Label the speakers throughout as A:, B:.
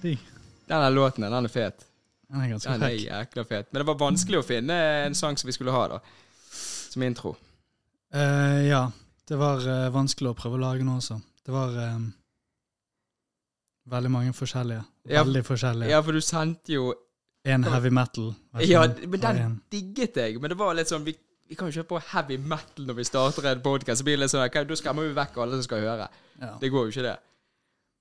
A: Digg.
B: Den der låten den er fet.
A: Den er ganske
B: Den er
A: frekk.
B: jækla fet. Men det var vanskelig å finne en sang som vi skulle ha, da. Som intro.
A: Eh, ja, det var eh, vanskelig å prøve å lage noe også. Det var eh, veldig mange forskjellige.
B: Ja,
A: Veldig forskjellige.
B: Ja, for du sendte jo
A: En heavy metal.
B: Ja, men
A: var
B: den
A: en.
B: digget jeg. Men det var litt sånn Vi, vi kan jo ikke høre på heavy metal når vi starter en podkast. Så blir det litt sånn ok, Da skremmer vi vekk alle som skal høre.
A: Ja.
B: Det går jo ikke, det.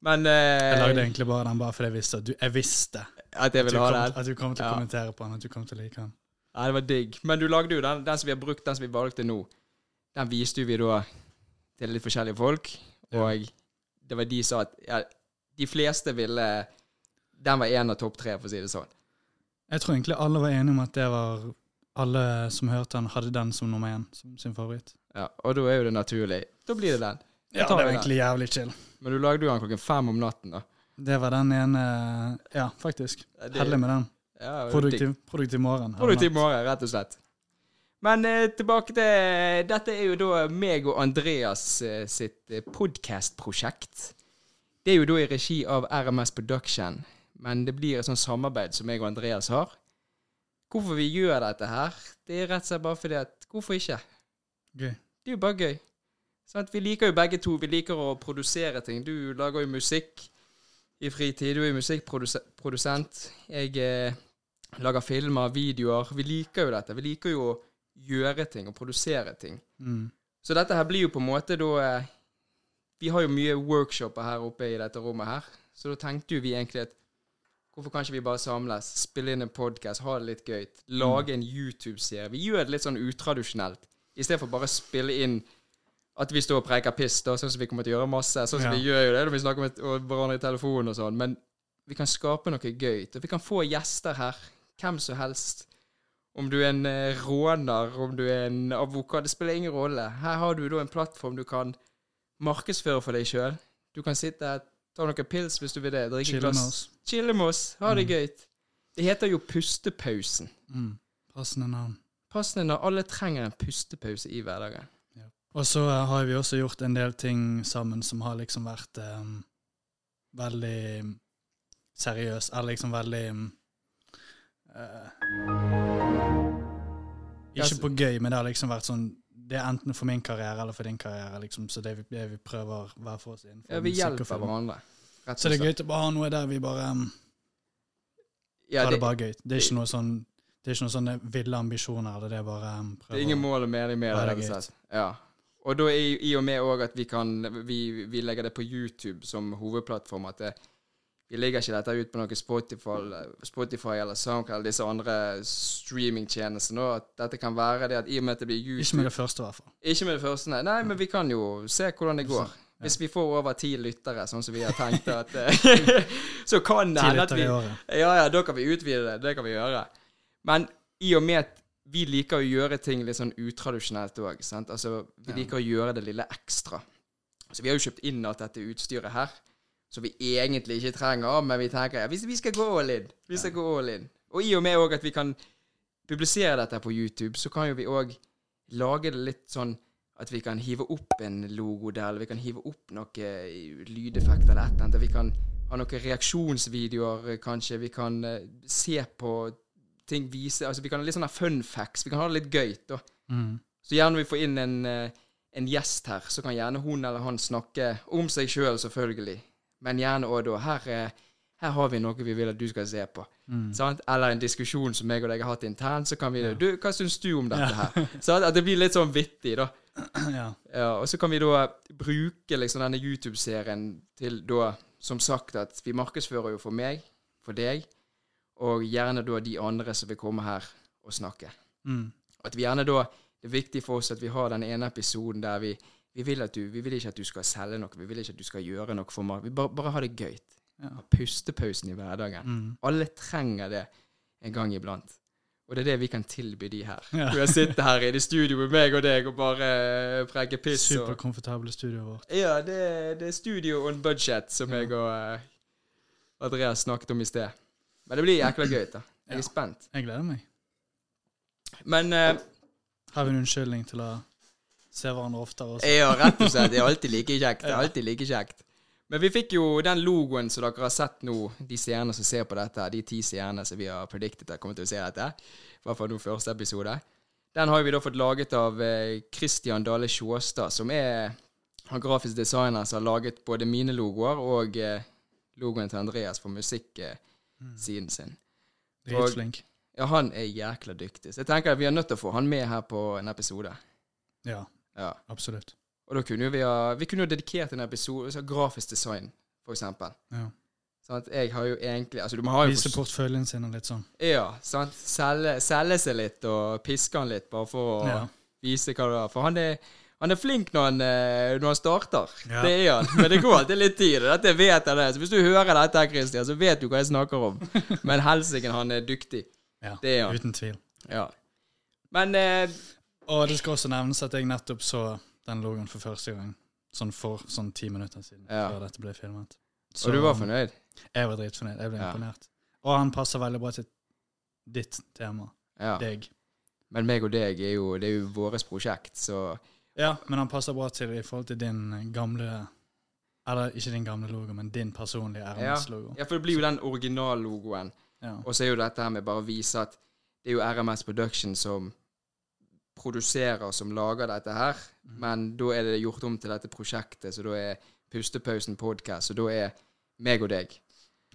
B: Men
A: Jeg lagde
B: eh,
A: egentlig bare den bare fordi jeg visste at du, jeg visste
B: at jeg
A: at du,
B: ville ha
A: kom,
B: den.
A: at du kom til å
B: Ja.
A: kommentere på den, at du kom til å like den.
B: Ja, det var digg. Men du lagde jo den, den som vi har brukt, den som vi valgte nå. Den viste jo vi da til litt forskjellige folk, og det var de som sa at ja, de fleste ville Den var en av topp tre, for å si det sånn.
A: Jeg tror egentlig alle var enige om at det var alle som hørte den, hadde den som nummer én som sin favoritt.
B: Ja, og da er jo det naturlig. Da blir det den. Da
A: Ja, det
B: tar
A: var
B: vi den.
A: egentlig jævlig chill.
B: Men du lagde jo den klokken fem om natten, da.
A: Det var den ene Ja, faktisk.
B: Ja, det-
A: Heldig med den.
B: Ja, det var digg.
A: Produktiv, produktiv morgen.
B: Produktiv morgen, rett og slett. Men eh, tilbake til Dette er jo da meg og Andreas eh, sitt eh, podcast-prosjekt. Det er jo da i regi av RMS Production, men det blir et sånt samarbeid som meg og Andreas har. Hvorfor vi gjør dette her, det er rett og slett bare fordi at Hvorfor ikke?
A: Gøy.
B: Det er jo bare gøy. Sant? Vi liker jo begge to. Vi liker å produsere ting. Du lager jo musikk i fritid. Du er jo musikkprodusent. Jeg eh, lager filmer, videoer. Vi liker jo dette. Vi liker jo å gjøre ting og produsere ting.
A: Mm.
B: Så dette her blir jo på en måte da eh, Vi har jo mye workshoper her oppe i dette rommet her. Så da tenkte jo vi egentlig at hvorfor kan ikke vi bare samles, spille inn en podkast, ha det litt gøy, lage en YouTube-serie. Vi gjør det litt sånn utradisjonelt. I stedet for bare å spille inn at vi står og preiker piss, da, sånn som vi kommer til å gjøre masse. Sånn som
A: Ja.
B: vi gjør jo det når vi snakker med og hverandre i telefonen og sånn. Men vi kan skape noe gøy. Og vi kan få gjester her. Hvem som helst. Om du er en eh, råner, om du er en advokat, det spiller ingen rolle. Her har du da en plattform du kan markedsføre for deg sjøl. Du kan sitte her, ta noen pils hvis du vil det, drikke et
A: Chille
B: glass.
A: med oss.
B: Chille med oss, ha det gøy. Det heter jo pustepausen.
A: Mm. Passende navn.
B: Passende når alle trenger en pustepause i hverdagen.
A: Og så eh, har vi også gjort en del ting sammen som har liksom vært eh, veldig seriøs, eller liksom veldig eh,
B: Ja, så-
A: Ikke på gøy, men det har liksom vært sånn Det er enten for min karriere eller for din karriere, liksom. Så det vi, det vi prøver hver for oss innenfor
B: Ja, vi
A: musikk og
B: hjelper
A: film.
B: hverandre. Rett og
A: Så det er
B: slett.
A: gøy til å bare ha noe der vi bare um,
B: Ja,
A: har det
B: det,
A: bare gøy. Det er ikke noe sånn Det er ikke noe sånne ville ambisjoner. eller Det er bare um,
B: det er ingen mål og mening med det,
A: Ja, det er
B: rett og
A: gøy.
B: slett. Ja. Og da i, i og med òg at vi kan vi, vi legger det på YouTube som hovedplattform. at det vi legger ikke dette ut på noe Spotify, Spotify eller SoundCloud, disse andre streamingtjenestene. og At dette kan være det at i og med at det blir YouTube
A: Ikke med det første, i hvert fall.
B: Ikke med det første, nei. Nei, men vi kan jo se hvordan det går. Hvis vi får over ti lyttere, sånn som vi har tenkt at eh, Så kan det
A: Ti
B: hende at vi
A: lyttere i året.
B: Ja, ja, da kan vi utvide det. Det kan vi gjøre. Men i og med at vi liker å gjøre ting litt sånn utradisjonelt òg, sant. Altså, vi liker å gjøre det lille ekstra. Så vi har jo kjøpt inn alt dette utstyret her, som vi egentlig ikke trenger, men vi tenker ja, vi, vi skal gå all in. Vi skal gå all in. Og i og med òg at vi kan publisere dette på YouTube, så kan jo vi òg lage det litt sånn at vi kan hive opp en logo der, eller vi kan hive opp noe lydeffekter eller et eller annet. Vi kan ha noen reaksjonsvideoer, eh, kanskje. Vi kan eh, se på ting, vise Altså, vi kan ha litt sånne fun facts. Vi kan ha det litt gøy, da.
A: Mm.
B: Så gjerne vi får inn en, eh, en gjest her, så kan gjerne hun eller han snakke om seg sjøl, selv, selvfølgelig. Men gjerne òg da her, eh, her har vi noe vi vil at du skal se på. Sant? Eller en diskusjon som jeg og deg har hatt internt, så kan vi Du, hva syns du om dette her? Sant? at det blir litt sånn vittig, da.
A: Ja.
B: Ja, og så kan vi da bruke liksom denne YouTube-serien til da, som sagt, at vi markedsfører jo for meg, for deg, og gjerne da de andre som vil komme her og snakke.
A: Mm.
B: At vi gjerne da, det er viktig for oss at vi har den ene episoden der vi, vi, vil, at du, vi vil ikke at du skal selge noe, vi vil ikke at du skal gjøre noe for meg, vi bare, bare har det gøy.
A: Ja.
B: Ha pustepausen i hverdagen.
A: Mm.
B: Alle trenger det en gang iblant. Og det er det vi kan tilby de her.
A: Ja.
B: Hvor jeg sitter her i det studio med meg og deg og bare eh, preker piss. og...
A: Superkomfortable studioet vårt.
B: Ja, det, det er studio on budget, som jeg og eh, Andreas snakket om i sted. Men det blir jækla gøy. da. Jeg
A: Ja.
B: er spent.
A: Jeg gleder meg.
B: Men eh,
A: Har vi en unnskyldning til å se hverandre oftere også?
B: ja, rett og slett, det er alltid like kjekt. Det er alltid like kjekt. Men vi fikk jo den logoen som dere har sett nå, de seerne som ser på dette, de ti seerne som vi har prediktet har kommet til å se dette, i hvert fall nå første episode. Den har vi da fått laget av eh, Christian Dale Sjåstad, som er han grafisk designer som har laget både mine logoer og eh, logoen til Andreas på musikksiden sin.
A: Dritflink.
B: Ja, han er jækla dyktig. Så jeg tenker at vi er nødt til å få han med her på en episode.
A: Ja,
B: Ja.
A: absolutt.
B: Og da kunne jo vi ha Vi kunne jo dedikert en episode til grafisk design, for eksempel.
A: Ja.
B: Sånn at jeg har jo egentlig Altså, du må ha jo
A: Vise portføljen sin og litt sånn.
B: Ja, sant. Selge, selge seg litt og piske han litt, bare for å
A: Ja.
B: vise hva du har. For han er, han er flink når han, eh, når han starter.
A: Ja.
B: Det er han. Men det går alltid litt tid. og Dette vet jeg det. Så hvis du hører dette, her, Christian, så vet du hva jeg snakker om. Men helsike, han er dyktig.
A: Ja,
B: Det er han.
A: Uten tvil.
B: Ja. Men eh,
A: Og det skal også nevnes at jeg nettopp så den logoen for første gang. Sånn for sånn ti minutter siden.
B: Ja.
A: Før dette ble filmet. Så,
B: Og du var fornøyd?
A: Jeg var dritfornøyd. Jeg ble
B: Ja.
A: imponert. Og han passer veldig bra til ditt tema.
B: Ja.
A: Deg.
B: Men meg og deg er jo Det er jo vårt prosjekt, så
A: Ja, men han passer bra til i forhold til din eh, gamle Eller ikke din gamle logo, men din personlige RMS-logo.
B: Ja, for det blir jo den originallogoen.
A: Ja.
B: Og så er jo dette her med bare å vise at det er jo RMS Production som produserer, som lager dette her. Men da er det gjort om til dette prosjektet, så da er Pustepausen podcast, så da er meg og deg.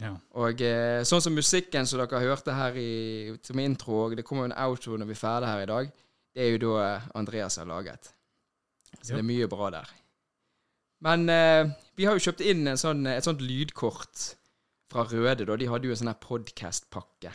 A: Ja.
B: Og eh, sånn som musikken som dere hørte her i, som intro, og det kommer jo en outro når vi er ferdig her i dag, det er jo da eh, Andreas har laget. Så det er mye bra der. Men eh, vi har jo kjøpt inn en sånn, et sånt lydkort fra Røde, da. De hadde jo en sånn her podcast-pakke.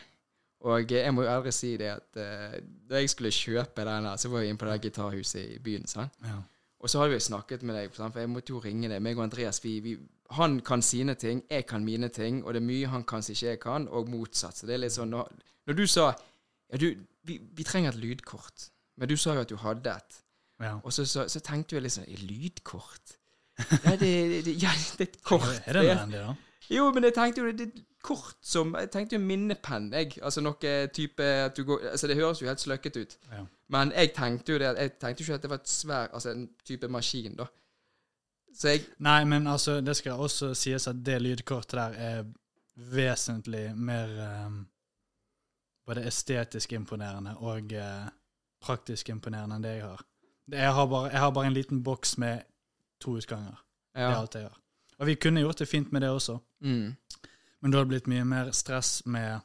B: Og eh, jeg må jo ærlig si det at eh, da jeg skulle kjøpe den her, så var jeg inne på det her gitarhuset i byen. sant?
A: Ja.
B: Og så hadde vi snakket med deg, sant, for jeg måtte jo ringe deg. Meg og Andreas, vi, vi, han kan sine ting, jeg kan mine ting, og det er mye han kan som ikke jeg kan, og motsatt. Så det er litt sånn Når, når du sa ja, du, vi, vi trenger et lydkort, men du sa jo at du hadde et.
A: ja.
B: Og så, så, så tenkte jeg litt sånn Lydkort? Ja, det, det, det, ja, det er et kort.
A: Er det nødvendig, da?
B: Jo, men jeg tenkte jo det, det er kort som Jeg tenkte jo minnepenn, jeg. Altså noe type at du går Altså, det høres jo helt sløkket ut.
A: Ja.
B: Men jeg tenkte jo det at- Jeg tenkte jo ikke at det var et svær Altså en type maskin, da. Så jeg
A: Nei, men altså, det skal også sies at det lydkortet der er vesentlig mer ehm, både estetisk imponerende og eh, praktisk imponerende enn det jeg har. Det, jeg, har bare, jeg har bare en liten boks med to utganger. Det er
B: Ja.
A: alt jeg har. Og vi kunne gjort det fint med det også,
B: Mm.
A: men da hadde det blitt mye mer stress med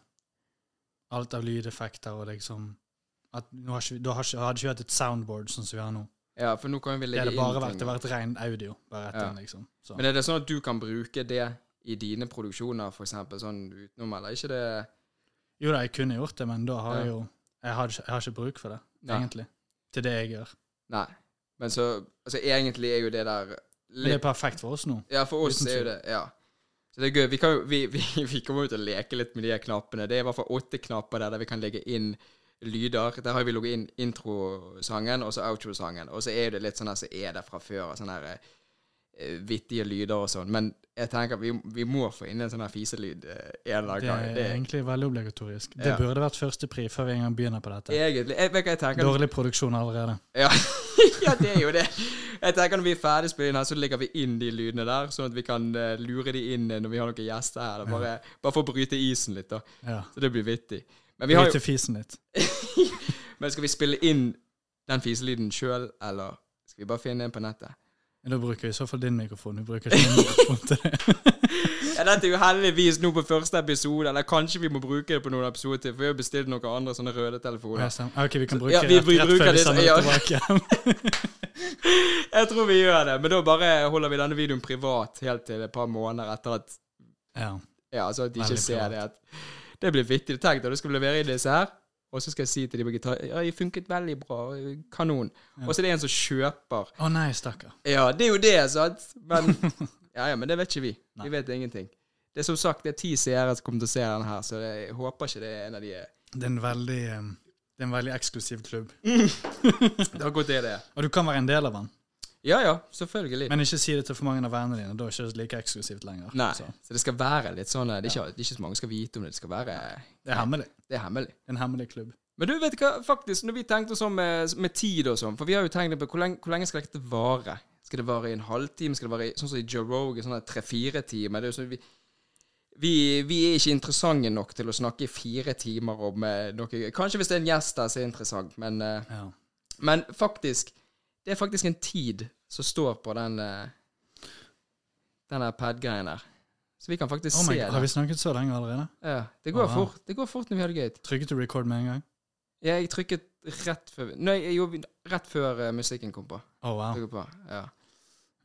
A: alt av lydeffekter og liksom at nå har ikke, vi- Da har ikke, hadde ikke vi hatt et soundboard sånn som vi har nå.
B: ja, for nå kan vi
A: Det
B: legge
A: hadde
B: inn
A: bare
B: ting.
A: vært, det hadde vært ren audio. bare etter
B: Ja.
A: den, liksom. Så.
B: Men er det sånn at du kan bruke det i dine produksjoner, for eksempel, sånn utenom, eller er ikke det
A: Jo da, jeg kunne gjort det, men da har
B: Ja.
A: jeg jo jeg har, ikke, jeg har ikke bruk for det,
B: Nei.
A: egentlig. Til det jeg gjør.
B: Nei. Men så Altså, egentlig er jo det der
A: Men det
B: litt
A: er perfekt for oss nå.
B: Ja, for oss
A: Uten
B: er jo
A: tvil.
B: det Ja. Så det er gøy. Vi, kan, jo- vi, vi, vi kommer jo til å leke litt med de her knappene. Det er i hvert fall åtte knapper der, der vi kan legge inn lyder. Der har vi logget inn introsangen og så outro-sangen. Og så er jo det litt sånn her som er der fra før, og sånne her eh, vittige lyder og sånn. Men jeg tenker at vi, vi må få inn en sånn her fiselyd eh, en eller
A: Det
B: annen
A: er
B: gang. Det er
A: egentlig veldig obligatorisk. Det
B: Ja.
A: burde vært førstepri før vi engang begynner på dette.
B: egentlig Jeg vet hva jeg tenker.
A: Dårlig produksjon allerede.
B: Ja. ja, det er jo det. Jeg tenker Når vi er ferdig å spille inn her, så legger vi inn de lydene der, sånn at vi kan eh, lure de inn eh, når vi har noen gjester her. Da. Bare, bare for å bryte isen litt, da.
A: Ja.
B: Så det blir vittig. Men, vi har
A: Bryte
B: jo,
A: fisen litt.
B: men skal vi spille inn den fiselyden sjøl, eller skal vi bare finne en på nettet?
A: Da bruker vi i så fall din mikrofon. Vi bruker ikke min mikrofon til det.
B: Ja, dette er jo heldigvis nå på første episode, eller kanskje vi må bruke det på noen episoder til, for vi har bestilt noen andre sånne røde
A: Ja,
B: telefoner.
A: stemmer. Ok, vi kan bruke
B: Ja,
A: det
B: vi-
A: rett,
B: vi
A: rett
B: bruker
A: før vi
B: det-
A: sender
B: ja.
A: det tilbake.
B: Jeg tror vi gjør det, men da bare holder vi denne videoen privat helt til et par måneder etter at
A: ja.
B: Ja, så at de ikke
A: Veldig
B: ser
A: privat.
B: det. At det blir vittig. Tenk deg, du skal levere inn disse her, og så skal jeg si til de på gitar Ja, de funket veldig bra. Kanon. Og så er det en som kjøper.
A: Å nei, stakkar.
B: Ja, det er jo det, sant? Men ja, ja, men det vet ikke vi. Vi vet ingenting. Det er som sagt det er ti seere som kommer til å se den her, så jeg håper ikke det er en av de
A: Det er en veldig um, det er en veldig eksklusiv klubb.
B: Det har gått det det er.
A: Og du kan være en del av den,
B: Ja ja, selvfølgelig.
A: men ikke si det til for mange av vennene dine. Da er det ikke like eksklusivt lenger.
B: Nei.
A: Så,
B: Så det skal være litt sånn eh, Det er ikke, det er ikke så mange som skal vite om det. Det skal være
A: det er hemmelig.
B: Det er hemmelig.
A: En hemmelig klubb.
B: Men du sånn, vet du hva, faktisk, når vi tenkte oss om med, med tid og sånn, for vi har jo tenkt på hvor lenge, hvor lenge skal dette vare? Skal det vare i en halvtime? Skal det vare i, sånn som i Joe Rogan, sånn tre-fire timer? Det er jo sånn, vi, vi, vi er ikke interessante nok til å snakke i fire timer om eh, noe Kanskje hvis det er en gjest der som er interessant, men, eh,
A: Ja. Oh
B: men faktisk Det er faktisk en tid som står på den eh, Den der pad-greien der. Så vi kan faktisk
A: Oh my
B: se
A: God, har
B: det.
A: vi snakket så lenge allerede?
B: Ja, det går
A: Wow.
B: fort. Det går fort når vi har det gøy.
A: Trykket du record med en gang?
B: Ja, jeg trykket rett før Nei, jeg gjorde rett før eh, musikken kom på.
A: Oh, wow.
B: Trykket på. Ja.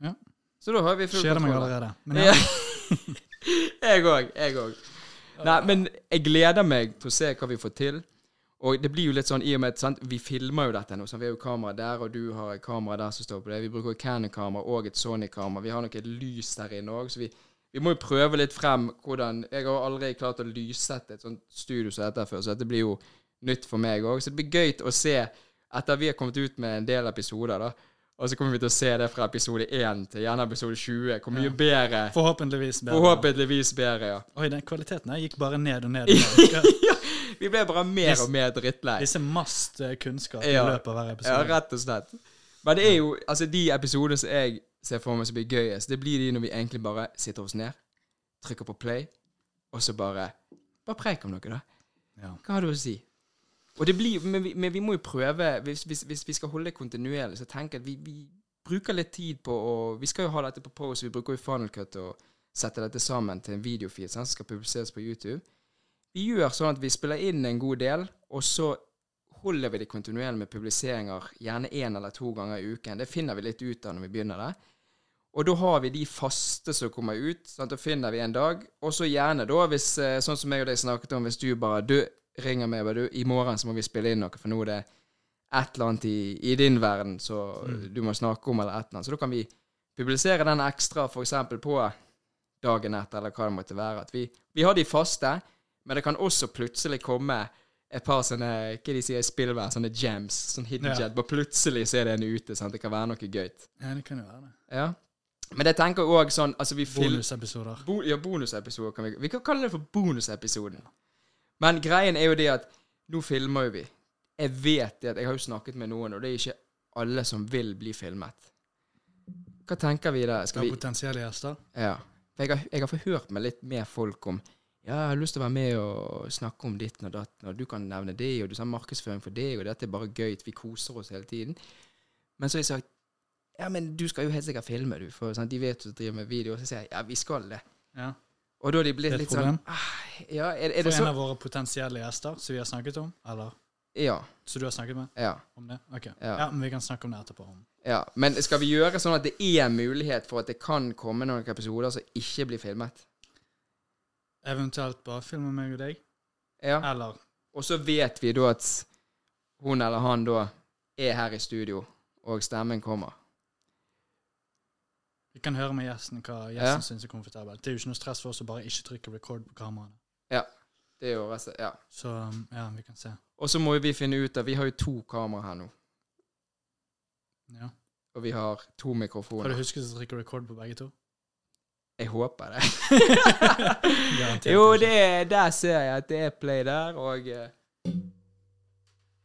A: Ja.
B: Så da har vi full
A: Skjer det meg
B: kontroll.
A: allerede? Men ja.
B: Ja. jeg òg. Jeg òg. Nei, men jeg gleder meg til å se hva vi får til. Og det blir jo litt sånn i og med at sant, vi filmer jo dette nå. Sant? Vi har jo kamera der, og du har et kamera der som står på det. Vi bruker jo Canon-kamera og et Sony-kamera. Vi har nok et lys der inne òg, så vi, vi må jo prøve litt frem hvordan Jeg har aldri klart å lyssette et sånt studio som dette før, så dette blir jo nytt for meg òg. Så det blir gøy å se, etter vi har kommet ut med en del episoder, da, og så kommer vi til å se det fra episode 1 til gjerne episode 20, hvor mye bedre
A: Forhåpentligvis bedre.
B: Forhåpentligvis bedre, ja.
A: Oi, den kvaliteten her gikk bare ned og ned. og ned.
B: Vi ble bare mer og mer drittlei.
A: Disse mast eh, kunnskap i
B: Ja.
A: løpet av hver
B: Ja,
A: episode.
B: rett og slett. Men det er jo altså de episodene som jeg ser for meg som blir gøyest, det blir de når vi egentlig bare sitter oss ned, trykker på play, og så bare Bare preik om noe, da.
A: Ja.
B: Hva har du å si? Og det blir, men, vi, men vi må jo prøve, hvis, hvis, hvis vi skal holde det kontinuerlig, så tenk at vi, vi bruker litt tid på å Vi skal jo ha dette på pose, vi bruker jo funnel cut og setter dette sammen til en videofil sant, som skal publiseres på YouTube. Vi gjør sånn at vi spiller inn en god del, og så holder vi det kontinuerlig med publiseringer, gjerne én eller to ganger i uken. Det finner vi litt ut av når vi begynner det. Og da har vi de faste som kommer ut, sant? da finner vi en dag. Og så gjerne da, hvis, eh, sånn som jeg og deg snakket om, hvis du bare du ringer meg bare du, i morgen så må vi spille inn noe, for nå er det et eller annet i, i din verden som du må snakke om, eller et eller annet. Så da kan vi publisere den ekstra for eksempel på dagen etter, eller hva det måtte være. At vi, vi har de faste, men det kan også plutselig komme et par sånne hva de sier, spillvær, sånne gems, sånn hidden
A: Ja.
B: jet, bare plutselig så er det en ute, sant? det kan være noe gøy.
A: Ja, det kan jo være det.
B: Ja. Men jeg tenker òg sånn altså vi fil
A: Bonusepisoder.
B: bo Ja, bonusepisoder kan vi Vi kan kalle det for bonusepisoden. Men greien er jo det at nå filmer jo vi. Jeg vet det at jeg har jo snakket med noen, og det er ikke alle som vil bli filmet. Hva tenker vi der?
A: Skal
B: Skal
A: ha
B: vi
A: potensielle gjester.
B: Ja. For jeg har, jeg har forhørt meg litt med folk om ja, jeg har lyst til å være med og snakke om ditten og datten, og du kan nevne det, og du sa markedsføring for det, og dette er bare gøy, vi koser oss hele tiden. Men så har jeg sagt ja, men du skal jo helt sikkert filme, du, for sant, de vet du driver med video, og så sier jeg ja, vi skal det.
A: Ja.
B: Og da har de blitt
A: Det er et
B: litt sånn
A: problem.
B: «Ah, Ja, er, er
A: For
B: det
A: en
B: så
A: av våre potensielle gjester som vi har snakket om, eller
B: Ja.
A: Så du har snakket med
B: ja.
A: om det? Ok.
B: Ja.
A: Ja, men vi kan snakke om det etterpå. om-
B: Ja, Men skal vi gjøre sånn at det er mulighet for at det kan komme noen episoder som ikke blir filmet?
A: Eventuelt bare filme meg og deg,
B: Ja.
A: eller
B: Og så vet vi da at hun eller han da er her i studio, og stemmen kommer.
A: vi kan høre med gjesten hva
B: Ja.
A: gjesten synes er komfortabelt. Det er jo ikke noe stress for oss å bare ikke trykke record på kameraene.
B: Det er jo resten, ja.
A: Så um, ja, vi kan se.
B: Og så må jo vi finne ut av Vi har jo to kamera her nå,
A: Ja.
B: og vi har to
A: Har du
B: mikrofoner.
A: husket å trykke record på begge to?
B: Jeg håper det.
A: Garantert
B: jo,
A: ikke.
B: det er, der ser jeg at det er play der, og eh,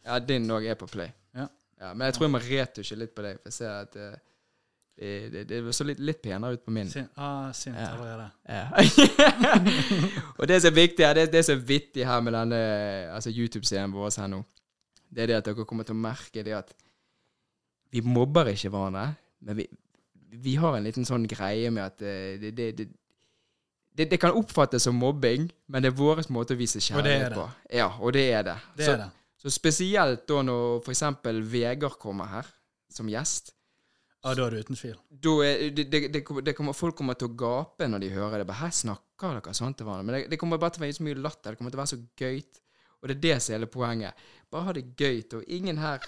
B: Ja, din òg er på play.
A: Ja.
B: Men jeg tror jeg må retusje litt på deg, for jeg ser at eh, det, det, det så litt, litt penere ut på min.
A: Sin, ah, sint
B: Ja.
A: allerede.
B: Ja. og det som er viktig her, det, det som er vittig her med denne altså YouTube-serien vår her nå, det er det at dere kommer til å merke det at vi mobber ikke hverandre, men vi, vi har en liten sånn greie med at eh, det, det, det det, det kan oppfattes som mobbing, men det er vår måte å vise
A: Og det er
B: kjærlighet på. Ja, og det er det.
A: Det
B: så,
A: er det.
B: så spesielt da når f.eks. Vegard kommer her som gjest,
A: Ja, Ah, da er du uten tvil.
B: da er, det, det, det, kommer- det kommer, folk kommer til å gape når de hører det. Bare, Her snakker dere sånn til hverandre. Men det, det kommer bare til å være så mye latter. Det kommer til å være så gøyt. Og det er det som er hele poenget. Bare ha det gøyt, og ingen her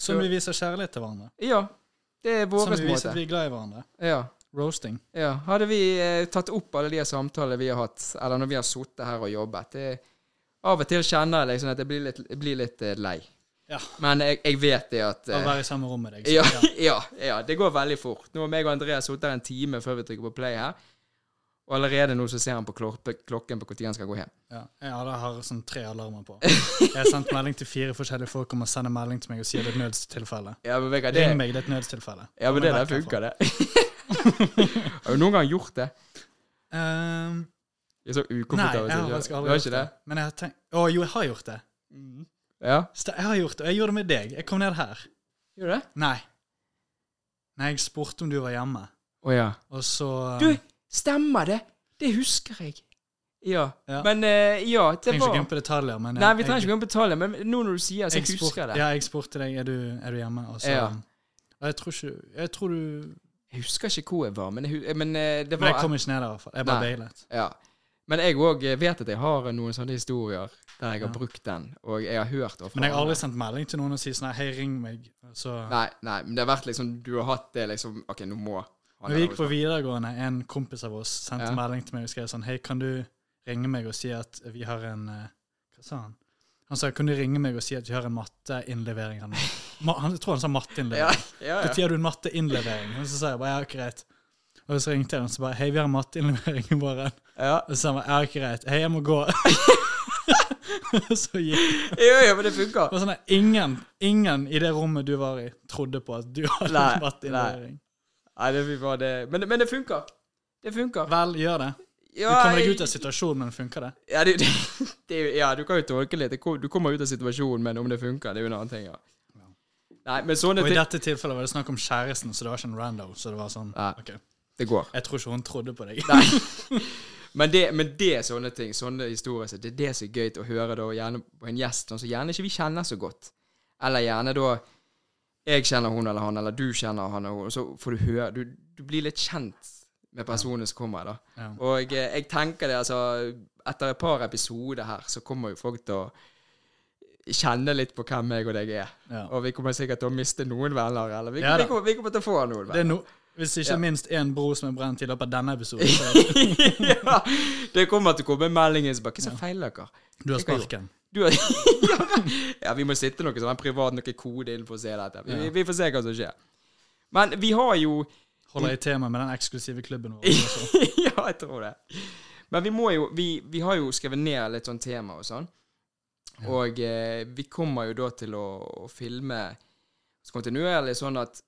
A: Som vi viser kjærlighet til hverandre.
B: Ja, det er
A: Som
B: vår
A: vi viser
B: måte.
A: at vi er glad i hverandre.
B: Ja,
A: Roasting.
B: ja. Hadde vi eh, tatt opp alle de samtalene vi har hatt, eller når vi har sittet her og jobbet det, Av og til kjenner jeg liksom at jeg blir litt, jeg blir litt eh, lei.
A: Ja.
B: Men jeg, jeg vet det at
A: Å
B: eh,
A: være i samme rom med deg.
B: Ja, ja, ja, det går veldig fort. Nå har meg og Andreas sittet her en time før vi trykker på play her. Og allerede nå så ser han på klorpe, klokken på når han skal gå hjem.
A: Ja, jeg har- har sånn tre alarmer på. Jeg har sendt melding til fire forskjellige folk om å sende melding til meg og si det er et nødstilfelle.
B: Ja, men, Vegard, det,
A: Ring meg, det er et nødstilfelle.
B: ja, men det der
A: Kom meg vekk
B: funker, det. har du noen gang gjort det?
A: Ehm,
B: Jeg er så
A: nei,
B: ukomfortabel.
A: jeg har
B: sier
A: faktisk
B: jeg. Du har
A: aldri
B: ikke
A: gjort det. Mm. Men jeg har tenkt Å jo, jeg har gjort det.
B: Ja,
A: Sta- Jeg har gjort det, og jeg gjorde det med deg. Jeg kom ned her.
B: gjør du det?
A: Nei. Nei, jeg spurte om du var hjemme,
B: Å ja.
A: og så ehm,
B: Du, stemmer det? Det husker jeg. Ja.
A: Ja.
B: Men eh, ja, det
A: Trenger ikke
B: var
A: gå inn på detaljer, men
B: Nei, vi trenger ikke gå inn på detaljer, men nå når du sier så
A: jeg
B: jeg
A: spurte,
B: husker det.
A: Ja, jeg spurte deg er du er du hjemme, og så ehm,
B: Ja.
A: Og jeg tror ikke Jeg tror du
B: Jeg husker ikke hvor jeg var, men, jeg, hu- men eh, det
A: Men
B: var
A: jeg kom ikke ned der, i hvert fall. Jeg bare
B: Nei.
A: bailet.
B: Ja. Men jeg òg vet at jeg har noen sånne historier der jeg har
A: Ja.
B: brukt den, og jeg har hørt det fra
A: Men jeg har aldri
B: andre.
A: sendt melding til noen og sagt sånn hei, ring meg. og Så
B: Nei, nei, men det har vært liksom Du har hatt det liksom OK, nå må han
A: Når vi gikk på
B: her-
A: videregående, en kompis av oss sendte
B: Ja.
A: melding til meg og skrev sånn Hei, kan du ringe meg og si at vi har en eh, Hva sa han? Han sa kan du ringe meg og si at vi har en matteinnlevering. her nå?» Ma- Han, jeg tror han sa matteinnlevering.
B: Ja, ja,
A: Når
B: ja.
A: har du en matteinnlevering? Og så sa jeg bare ja, greit. Og så ringte jeg han og så bare hei, vi har en matteinnlevering i morgen.
B: Ja.
A: Og så sa han bare ja, greit. Hei, jeg må gå. Og så gikk
B: ja, ja, men det funker.
A: det var sånn at ingen, ingen i det rommet du var i, trodde på at du hadde
B: Nei,
A: en matteinnlevering.
B: Nei, det var det. Men, men det funker. Det funker.
A: Vel, gjør det. Du
B: Ja,
A: kommer deg
B: jeg-
A: ut av situasjonen, men funker det?
B: Ja, det, det, det, er jo- ja, du kan jo tolke litt. Det kom- Du kommer ut av situasjonen, men om det funker, det er jo en annen ting. ja. Nei, men sånne
A: Og i
B: ting
A: dette tilfellet var det snakk om kjæresten, så det var ikke en rando. Så det var sånn
B: Nei.
A: OK.
B: Det går.
A: Jeg tror ikke hun trodde på deg.
B: Nei. Men det, men det er sånne ting, sånne historier, så det er det som er gøy å høre da, gjerne på en gjest sånn som gjerne ikke vi kjenner så godt. Eller gjerne da jeg kjenner hun eller han, eller du kjenner han og hun, og så får du høre Du, du blir litt kjent med personen som kommer, da.
A: Ja.
B: Og eh, jeg tenker det, altså Etter et par episoder her, så kommer jo folk til å kjenne litt på hvem jeg og deg er.
A: Ja.
B: Og vi kommer sikkert til å miste noen venner, eller vi,
A: Ja da.
B: vi, kommer, vi kommer til å få noen
A: Det
B: venner.
A: er no, hvis ikke
B: Ja.
A: minst én bro som er brent i løpet av denne episoden, så
B: ja, det kommer til å komme meldinger som bare Hva er det som feiler dere?
A: du har
B: Det kan jo-
A: sparken.
B: Du har, ja, vi må sitte noe sånn privat, noe kode inn for å se dette. Vi,
A: Ja.
B: vi får se hva som skjer. Men vi har jo
A: Holder i tema med den eksklusive klubben vår. også.
B: Ja, jeg tror det. Men vi må jo Vi, vi har jo skrevet ned litt sånn tema og sånn. Og eh, vi kommer jo da til å, å filme kontinuerlig, sånn at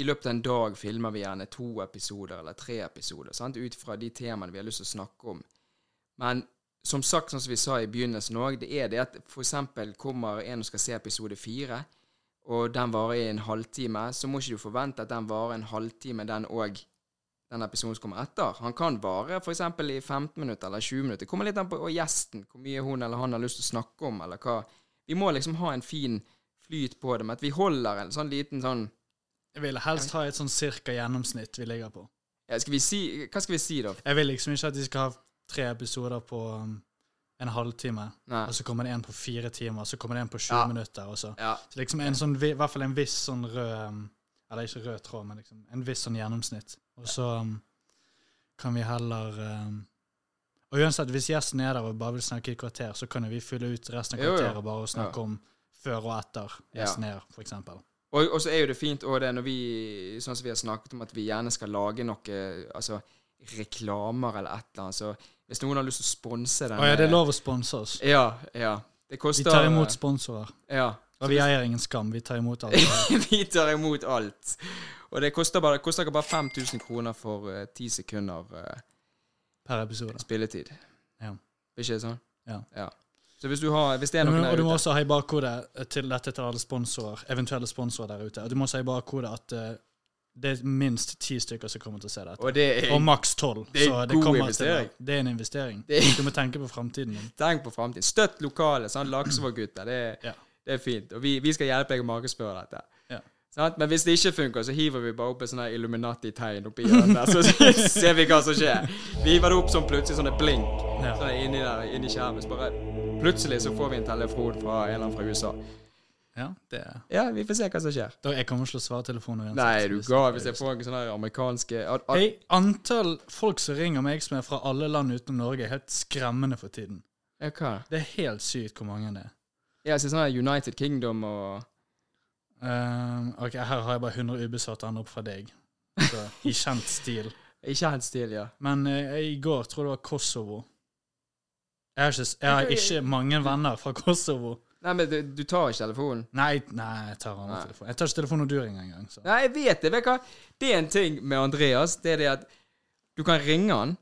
B: i løpet av en dag filmer vi gjerne to episoder eller tre episoder, sant? ut fra de temaene vi har lyst til å snakke om. Men som sagt, sånn som vi sa i begynnelsen òg, det er det at for eksempel kommer en og skal se episode fire, og den varer i en halvtime, så må ikke du forvente at den varer en halvtime, den òg, den episoden som kommer etter. Han kan vare f.eks. i 15 minutter eller 20 minutter. Det kommer litt an på og gjesten, hvor mye hun eller han har lyst til å snakke om, eller hva. Vi må liksom ha en fin flyt på det, men at vi holder en sånn liten sånn
A: Jeg vil helst ha et sånn cirka gjennomsnitt vi ligger på.
B: ja, skal vi si, Hva skal vi si, da?
A: Jeg vil liksom ikke at de skal ha tre episoder på um, en halvtime,
B: Nei.
A: og så kommer det en på fire timer, og så kommer det en på sju
B: Ja.
A: minutter, og så
B: Ja,
A: Så liksom en sånn, vi- i hvert fall en viss sånn rød um, Eller ikke rød tråd, men liksom en viss sånn gjennomsnitt. Og så um, kan vi heller um, Og uansett, hvis gjesten er der og bare vil snakke i kvarter, så kan jo vi fylle ut resten av
B: Jo, jo.
A: kvarteret bare og snakke om før og etter
B: Ja.
A: gjesten er, for eksempel.
B: Og, og så er jo det fint også det når vi sånn som vi har snakket om at vi gjerne skal lage noe altså, reklamer eller et eller annet. Så hvis noen har lyst til å sponse den
A: Og ja, det er lov å sponse oss.
B: Ja, ja. Det
A: Vi
B: koster
A: tar imot sponsorer.
B: Ja.
A: Og vi eier ingen skam. Vi tar imot alt.
B: vi tar imot alt. Og det koster bare, koster dere bare 5000 kroner for eh, 10 sekunder eh,
A: per episode.
B: spilletid.
A: Ja.
B: Ikke det sånn?
A: Ja.
B: Så hvis du har Hvis det er
A: Men,
B: noen
A: og
B: der
A: du må
B: ute
A: også ha i bakhodet til dette til alle sponsorer, eventuelle sponsorer der ute. Og du må også ha i bakhodet at eh, det er minst ti stykker som kommer til å se dette.
B: Og det er
A: Og maks tolv.
B: det er
A: Så det
B: god
A: kommer til
B: investering.
A: å- Det er en investering.
B: Det er-
A: Du må tenke på framtiden din.
B: Tenk på framtiden. Støtt lokale, sånn Laksevåg-gutter. Det, er-
A: Ja.
B: det er fint. Og vi, vi skal hjelpe deg å markedsføre dette.
A: Ja.
B: Sant? Men hvis det ikke funker, så hiver vi bare opp et sånn her Illuminati-tegn oppi hjørnet, der, så ser vi hva som skjer. Vi hiver det opp som plutselig sånne blink
A: Ja.
B: sånn inni der, inni skjermen. Så bare plutselig så får vi en telefon fra en eller annen fra USA.
A: Ja, det er.
B: Ja, vi får se hva som skjer.
A: Da, jeg kommer ikke til å svare telefonen uansett.
B: Nei, du
A: hvis-
B: ga hvis jeg får en sånn her amerikanske at- at-
A: Hei, antall folk som ringer meg som er fra alle land utenom Norge, er helt skremmende for tiden.
B: Ja, hva?
A: Det er helt sykt hvor mange det er.
B: Ja, så sånn her United Kingdom og
A: Ehm, ok, Her har jeg bare 100 ubesvarte andre opp fra deg. Så, I kjent stil.
B: Ikke hans stil, ja.
A: Men eh, i går tror jeg det var Kosovo. Jeg har ikke, jeg har ikke mange venner fra Kosovo.
B: Nei, men du, du tar ikke telefonen.
A: Nei, nei jeg tar andre
B: Nei.
A: telefon. Jeg tar ikke telefonen når du ringer engang. så.
B: Nei, jeg vet det. Vet du hva? Det er en ting med Andreas. Det er det at du kan ringe han.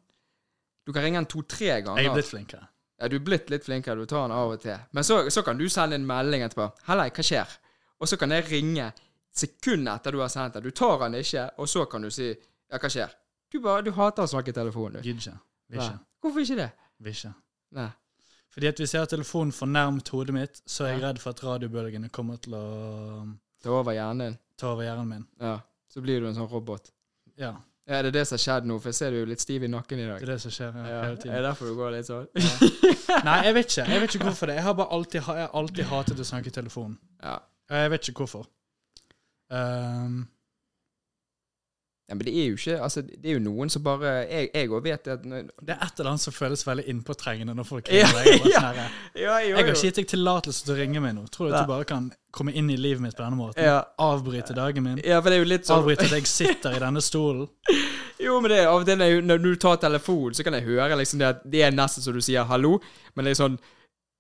B: Du kan ringe han to-tre
A: Jeg er
B: ganger.
A: blitt flinkere.
B: Ja, du er blitt litt flinkere. Du tar han av og til. Men så, så kan du sende en melding etterpå. 'Hallei, hva skjer?' Og så kan jeg ringe sekundet etter du har sendt det. Du tar han ikke, og så kan du si 'Ja, hva skjer?' Du bare, du hater å snakke i telefonen, du.
A: Gidder ikke. Vil
B: Nei.
A: ikke.
B: Hvorfor ikke det?
A: Vil ikke.
B: Nei.
A: Fordi at hvis jeg har telefonen for nærmt hodet mitt, så er jeg redd for at radiobølgene kommer til å um,
B: Det er over hjernen din.
A: ta over hjernen min.
B: Ja. Så blir du en sånn robot.
A: Ja,
B: Ja, det er det som har skjedd nå, for jeg ser du er litt stiv i nakken i dag.
A: det er det som skjer ja,
B: Ja,
A: hele
B: er det
A: tiden.
B: derfor du går litt sånn?
A: Nei, jeg vet ikke. Jeg vet ikke hvorfor det. Jeg har bare alltid, ha- jeg har alltid hatet å snakke i telefonen.
B: Ja.
A: Og Jeg vet ikke hvorfor. Ehm,
B: Ja, men det er jo ikke Altså, det er jo noen som bare Jeg jeg òg vet at når-
A: det er et eller annet som føles veldig innpåtrengende når folk
B: Ja,
A: ringer meg. Jeg er bare
B: ja.
A: sånn her,
B: Ja, jo,
A: Jeg har ikke gitt deg tillatelse til å ringe meg nå. Tror du at
B: Nei.
A: du bare kan komme inn i livet mitt på denne måten?
B: ja.
A: Avbryte dagen min?
B: ja, for det er jo litt sånn
A: Avbryte at jeg sitter i denne stolen?
B: Jo, men det er av og til når jeg- når du tar telefonen, så kan jeg høre liksom det at Det er nesten så du sier hallo, men det er sånn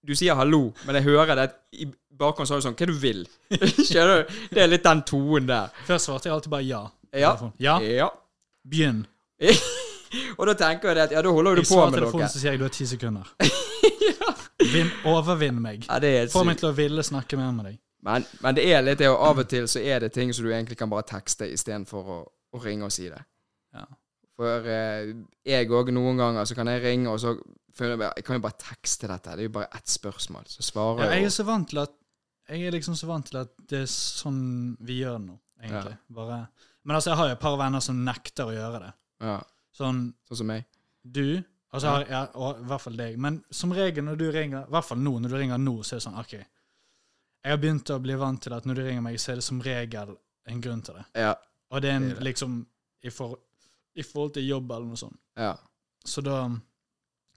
B: Du sier hallo, men jeg hører det at i bakhånd så er det sånn Hva du vil? Skjønner du? Det er litt den tonen der.
A: Før svarte jeg alltid bare ja.
B: Ja.
A: Telefon. Ja,
B: Ja.
A: begynn.
B: Og da tenker jeg det at Ja, da holder du
A: Jeg
B: på
A: svarer
B: med
A: telefonen,
B: noe.
A: så sier jeg du har ti sekunder. Vinn, overvinn meg.
B: Ja, det er helt
A: Få meg
B: sykt.
A: til å ville snakke mer med deg.
B: Men, men det er litt det, og av og til så er det ting som du egentlig kan bare tekste istedenfor å, å ringe og si det.
A: Ja.
B: For eh, jeg òg noen ganger så kan jeg ringe, og så føler jeg bare Jeg kan jo bare tekste dette. Det er jo bare ett spørsmål. Så svarer
A: Ja,
B: jeg
A: jeg
B: jo.
A: er så vant til at Jeg er liksom så vant til at det er sånn vi gjør det nå, egentlig. Bare, men altså, jeg har jo et par venner som nekter å gjøre det.
B: Ja,
A: Sånn
B: sånn som meg.
A: du Altså, jeg har, ja, og, i hvert fall deg. Men som regel når du ringer, i hvert fall nå, når du ringer nå, så er det sånn OK. Jeg har begynt å bli vant til at når du ringer meg, så er det som regel en grunn til det.
B: Ja.
A: Og det er en,
B: Det er det.
A: liksom i, for, I forhold til jobb eller noe sånt.
B: ja.
A: Så da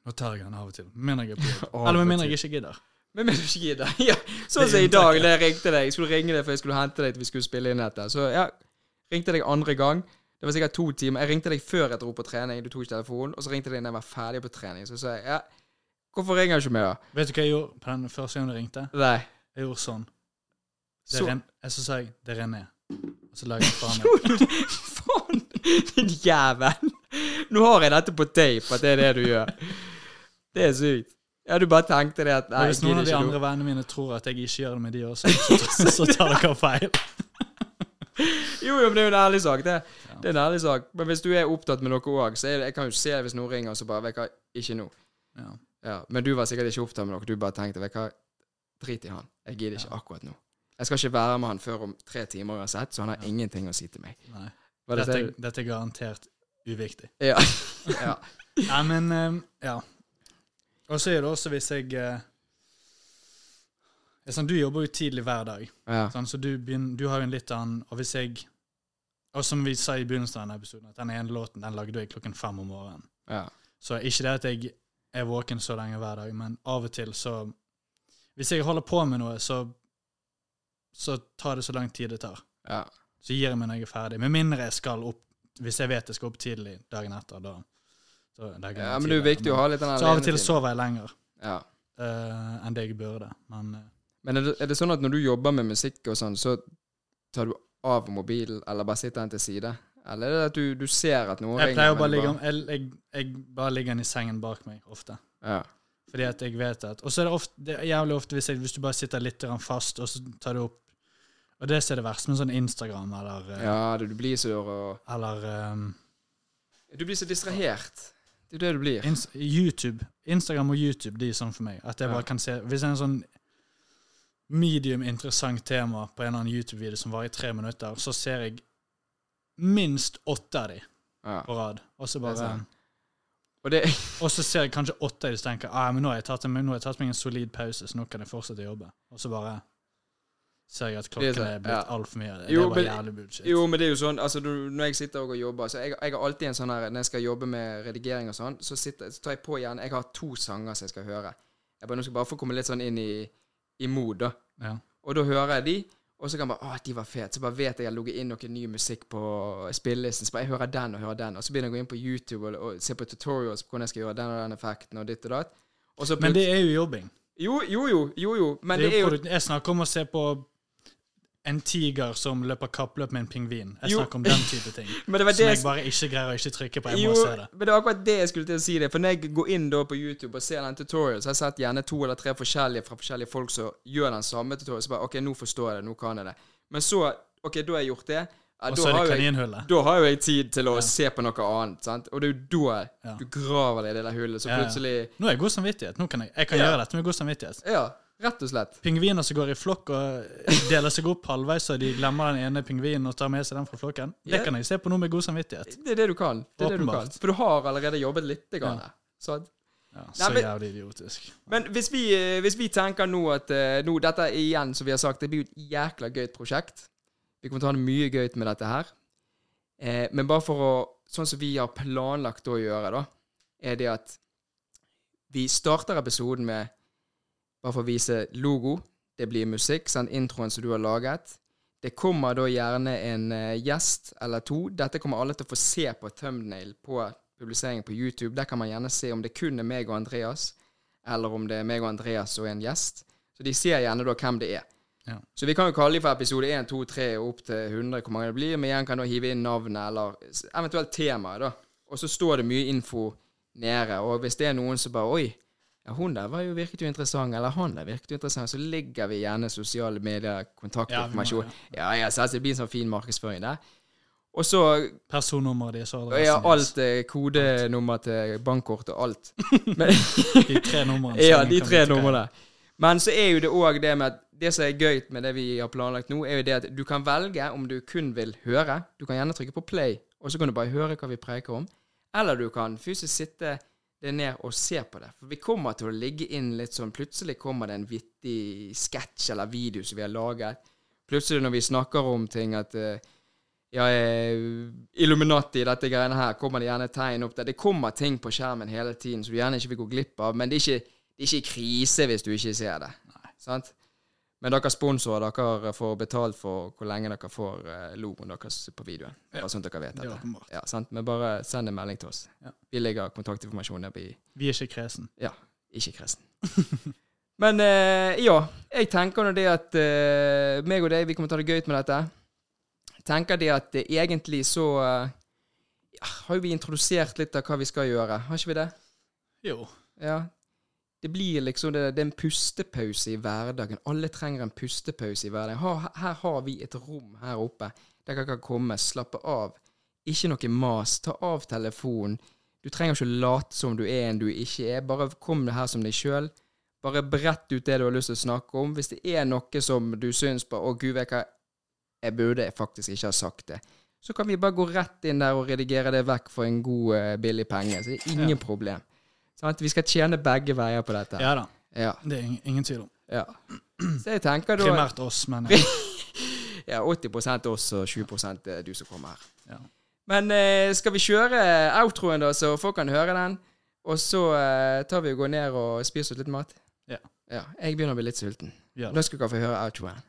A: Nå tar jeg den av og til. Med mindre jeg er på jobb.
B: Av
A: Eller
B: og
A: med mindre
B: til.
A: jeg ikke gidder.
B: Men men du ikke gidder. Ja, sånn
A: Det
B: som
A: er
B: i dag, da jeg ringte deg. Jeg skulle ringe deg, for jeg skulle hente deg til vi skulle spille inn dette. Så ja, ringte deg andre gang. Det var sikkert to timer. Jeg ringte deg før jeg dro på trening, du tok ikke telefonen. Og så ringte jeg deg da jeg var ferdig på trening. Så sa jeg ja, hvorfor ringer du ikke meg, da?
A: Vet du hva jeg gjorde på den første gangen du ringte?
B: Nei.
A: Jeg gjorde sånn. Det
B: Så-
A: er Ren, jeg så sa jeg 'Det er René'. Og så lager jeg faen meg.
B: Gjorde du det? Faen! Din jævel. Nå har jeg dette på tape, at det er det du gjør. Det er sykt. Ja, du bare tenkte det at Nei,
A: Og Hvis noen av de
B: gidder ikke
A: andre vennene mine tror at jeg ikke gjør det med de også, så, så tar dere feil.
B: noe. Jo, jo, men det er jo en ærlig sak, det. Det er en ærlig sak. Men hvis du er opptatt med noe òg, så er det, jeg kan jo se hvis noen ringer, og så bare Vet du hva, ikke nå.
A: Ja.
B: Ja, men du var sikkert ikke opptatt med noe. Du bare tenkte Vet du hva, drit i han. Jeg gidder ikke akkurat nå. Jeg skal ikke være med han før om tre timer uansett, så han har ingenting å si til meg.
A: Nei.
B: Var det
A: Dette,
B: det?
A: dette er garantert uviktig.
B: du- Ja. ja.
A: Nei, men ehm, Ja. Og så er det også hvis jeg eh, det er sånn, Du jobber jo tidlig hver dag,
B: ja.
A: sant? så du, begynner, du har jo en litt annen Og hvis jeg Og som vi sa i begynnelsen av denne episoden, at den ene låten den lagde jeg klokken fem om morgenen.
B: ja.
A: Så ikke det at jeg er våken så lenge hver dag, men av og til så Hvis jeg holder på med noe, så så tar det så lang tid det tar.
B: ja.
A: Så gir jeg meg når jeg er ferdig. Med mindre jeg skal opp Hvis jeg vet jeg skal opp tidlig dagen etter, da, da legger jeg
B: Ja,
A: meg
B: men det er jo
A: tidligere.
B: viktig å ha litt den
A: Men- Så av og til
B: alenetiden.
A: sover jeg lenger
B: Ja.
A: eh, enn det jeg burde. Men eh,
B: Men er det, er det sånn at når du jobber med musikk og sånn, så tar du av mobilen, eller bare sitter den til side? Eller er det at du, du ser at noen
A: jeg pleier å
B: men
A: bare
B: du
A: ligge om, jeg, jeg, jeg bare ligger den i sengen bak meg ofte.
B: Ja.
A: Fordi at jeg vet at Og så er det, ofte, det er jævlig ofte hvis, jeg, hvis du bare sitter litt grann fast, og så tar du opp Og det som er det verste med sånn Instagram eller, eh,
B: ja, du, du blir så og,
A: eller eh,
B: Du blir så distrahert. Det er jo det du blir.
A: Inst YouTube. Instagram og YouTube de er sånn for meg. At jeg
B: Ja.
A: bare kan se Hvis det er en sånn medium interessant tema på en eller annen YouTube-video som varer i tre minutter, så ser jeg minst åtte av de
B: Ja.
A: på rad. Og så
B: Det er
A: bare
B: sant. Og det
A: Og så ser jeg kanskje åtte av de som tenker ah, men nå har, jeg tatt, men nå har jeg tatt meg en solid pause, så nå kan jeg fortsette å jobbe. Og så bare ser jeg at
B: Det er
A: klokken
B: sånn,
A: er blitt
B: ja.
A: altfor mye. Det,
B: Jo,
A: det er bare
B: men-
A: jævlig bullshit.
B: Jo, men det er jo sånn altså, du, Når jeg sitter og jobber så jeg, jeg har alltid en sånn her Når jeg skal jobbe med redigering og sånn, så, sitter, så tar jeg på igjen Jeg har to sanger som jeg skal høre. Jeg bare, nå skal jeg bare få komme litt sånn inn i, i mod, da.
A: Ja.
B: Og da hører jeg de, Og så kan man bare Å, de var fete. Så bare vet jeg jeg har ligget inn noe ny musikk på spillelisten. Så bare jeg hører den og hører den. Og så begynner jeg å gå inn på YouTube og, og se på tutorials på hvordan jeg skal gjøre den og den effekten og ditt og datt. Og så
A: Men
B: plut-
A: det er jo jobbing.
B: Jo, jo, jo. jo, jo. Men
A: det er jo,
B: jo
A: produ- jeg snakker om å se på en tiger som løper kappløp med en pingvin. Jeg
B: Jo.
A: snakker om den type ting.
B: Men det var det
A: Som
B: jeg
A: jeg bare ikke greier å ikke trykke på. Jeg
B: Jo,
A: må se det.
B: men det var akkurat det jeg skulle til å si det. For når jeg går inn da på YouTube og ser den tutorial, så har jeg sett gjerne to eller tre forskjellige fra forskjellige folk som gjør den samme tutorial. Så bare OK, nå forstår jeg det, nå kan jeg det. Men så OK, da har jeg gjort det. Ja,
A: Og
B: da
A: så er
B: har
A: det
B: jo jeg-
A: kaninhullet.
B: da har jo jeg tid til å
A: Ja.
B: se på noe annet, sant? og det er jo da
A: Ja.
B: du graver deg i det der hullet, så
A: Ja, ja.
B: plutselig
A: Nå er jeg god samvittighet. Nå kan jeg, jeg kan
B: Ja.
A: gjøre dette med god samvittighet.
B: Ja, rett og slett.
A: Pingviner som går i flokk og deler seg opp halvveis, så de glemmer den ene pingvinen og tar med seg den fra flokken. Det
B: Ja.
A: kan jeg se på nå med god samvittighet.
B: Det er det du kan. Det er det du kan.
A: Åpenbart.
B: For du har allerede jobbet litt. Grann, der, sant?
A: Ja, så
B: men-
A: jævlig idiotisk.
B: Men hvis vi, eh, hvis vi tenker nå at eh, nå, Dette er igjen, som vi har sagt, det blir jo et jækla gøyt prosjekt. Vi kommer til å ha det mye gøyt med dette her. Eh, men bare for å Sånn som vi har planlagt å gjøre, da, er det at vi starter episoden med Bare for å vise logo. Det blir musikk. Send introen som du har laget. Det kommer da gjerne en eh, gjest eller to. Dette kommer alle til å få se på thumbnail på publiseringen på YouTube. Der kan man gjerne se om det kun er meg og Andreas eller om det er meg og Andreas og en gjest. Så de ser gjerne da hvem det er.
A: Ja.
B: Så vi kan jo kalle dem for episode 1, 2, 3 og opp til 100, hvor mange det blir. Men igjen kan du hive inn navnet eller s- eventuelt temaet, da. Og så står det mye info nede. Og hvis det er noen som bare Oi, ja, hun der var jo virket jo interessant, eller han der virket jo interessant, så ligger vi gjerne sosiale medier, kontaktinformasjon.
A: Ja,
B: Ja, ja, så altså, det blir en sånn fin markedsføring der. Og så
A: Personnummeret deres og
B: ja,
A: adressen deres.
B: alt eh, kodenummer til bankkort og alt. Men
A: De tre numrene. så
B: ja,
A: ingen
B: de
A: kan
B: tre
A: vite hva-
B: numrene. Men så er jo det òg det med at det som er gøy med det vi har planlagt nå, er jo det at du kan velge om du kun vil høre. Du kan gjerne trykke på play, og så kan du bare høre hva vi preker om. Eller du kan fysisk sitte det ned og se på det. For vi kommer til å ligge inn litt sånn Plutselig kommer det en vittig sketsj eller video som vi har laget. Plutselig når vi snakker om ting at eh, ja, eh, Illuminati, dette greiene her, kommer det gjerne tegn opp der. Det kommer ting på skjermen hele tiden som du gjerne ikke vil gå glipp av, men det er ikke, det er ikke krise hvis du ikke ser det. Sant? Men dere sponsorer, dere får betalt for hvor lenge dere får eh, logoen deres på videoen. Bare sånn at dere vet
A: Det er
B: dette.
A: åpenbart.
B: Ja, sant? Men bare send en melding til oss.
A: Ja.
B: Vi legger kontaktinformasjon ned i
A: Vi er ikke kresen.
B: Ja, ikke kristen. Men eh, ja, jeg tenker nå det at eh, meg og deg, vi kommer til å ha det gøy med dette. Tenker det at eh, egentlig så eh, ja, har jo vi introdusert litt av hva vi skal gjøre, har ikke vi det?
A: Jo.
B: Ja. Det blir liksom det, det er en pustepause i hverdagen. Alle trenger en pustepause i hverdagen. Her, her har vi et rom her oppe der dere kan komme, slappe av. Ikke noe mas. Ta av telefonen. Du trenger ikke å late som du er en du ikke er. Bare kom her som deg sjøl. Bare brett ut det du har lyst til å snakke om. Hvis det er noe som du syns på Å, gud vet hva, jeg burde faktisk ikke ha sagt det. Så kan vi bare gå rett inn der og redigere det vekk for en god, eh, billig penge. Så det er ingen problem. Sant? Vi skal tjene begge veier på dette.
A: Ja da.
B: Ja.
A: Det er ing- ingen tvil om.
B: ja. Så jeg tenker da
A: Primært oss, men
B: ja, 80 oss og 20 er du som kommer her.
A: ja.
B: Men eh, skal vi kjøre outroen, da, så folk kan høre den? Og så eh, tar vi og går ned og spiser oss litt mat?
A: Ja.
B: Jeg begynner å bli litt sulten.
A: Vi gjør det.
B: Da skal dere få høre outroen.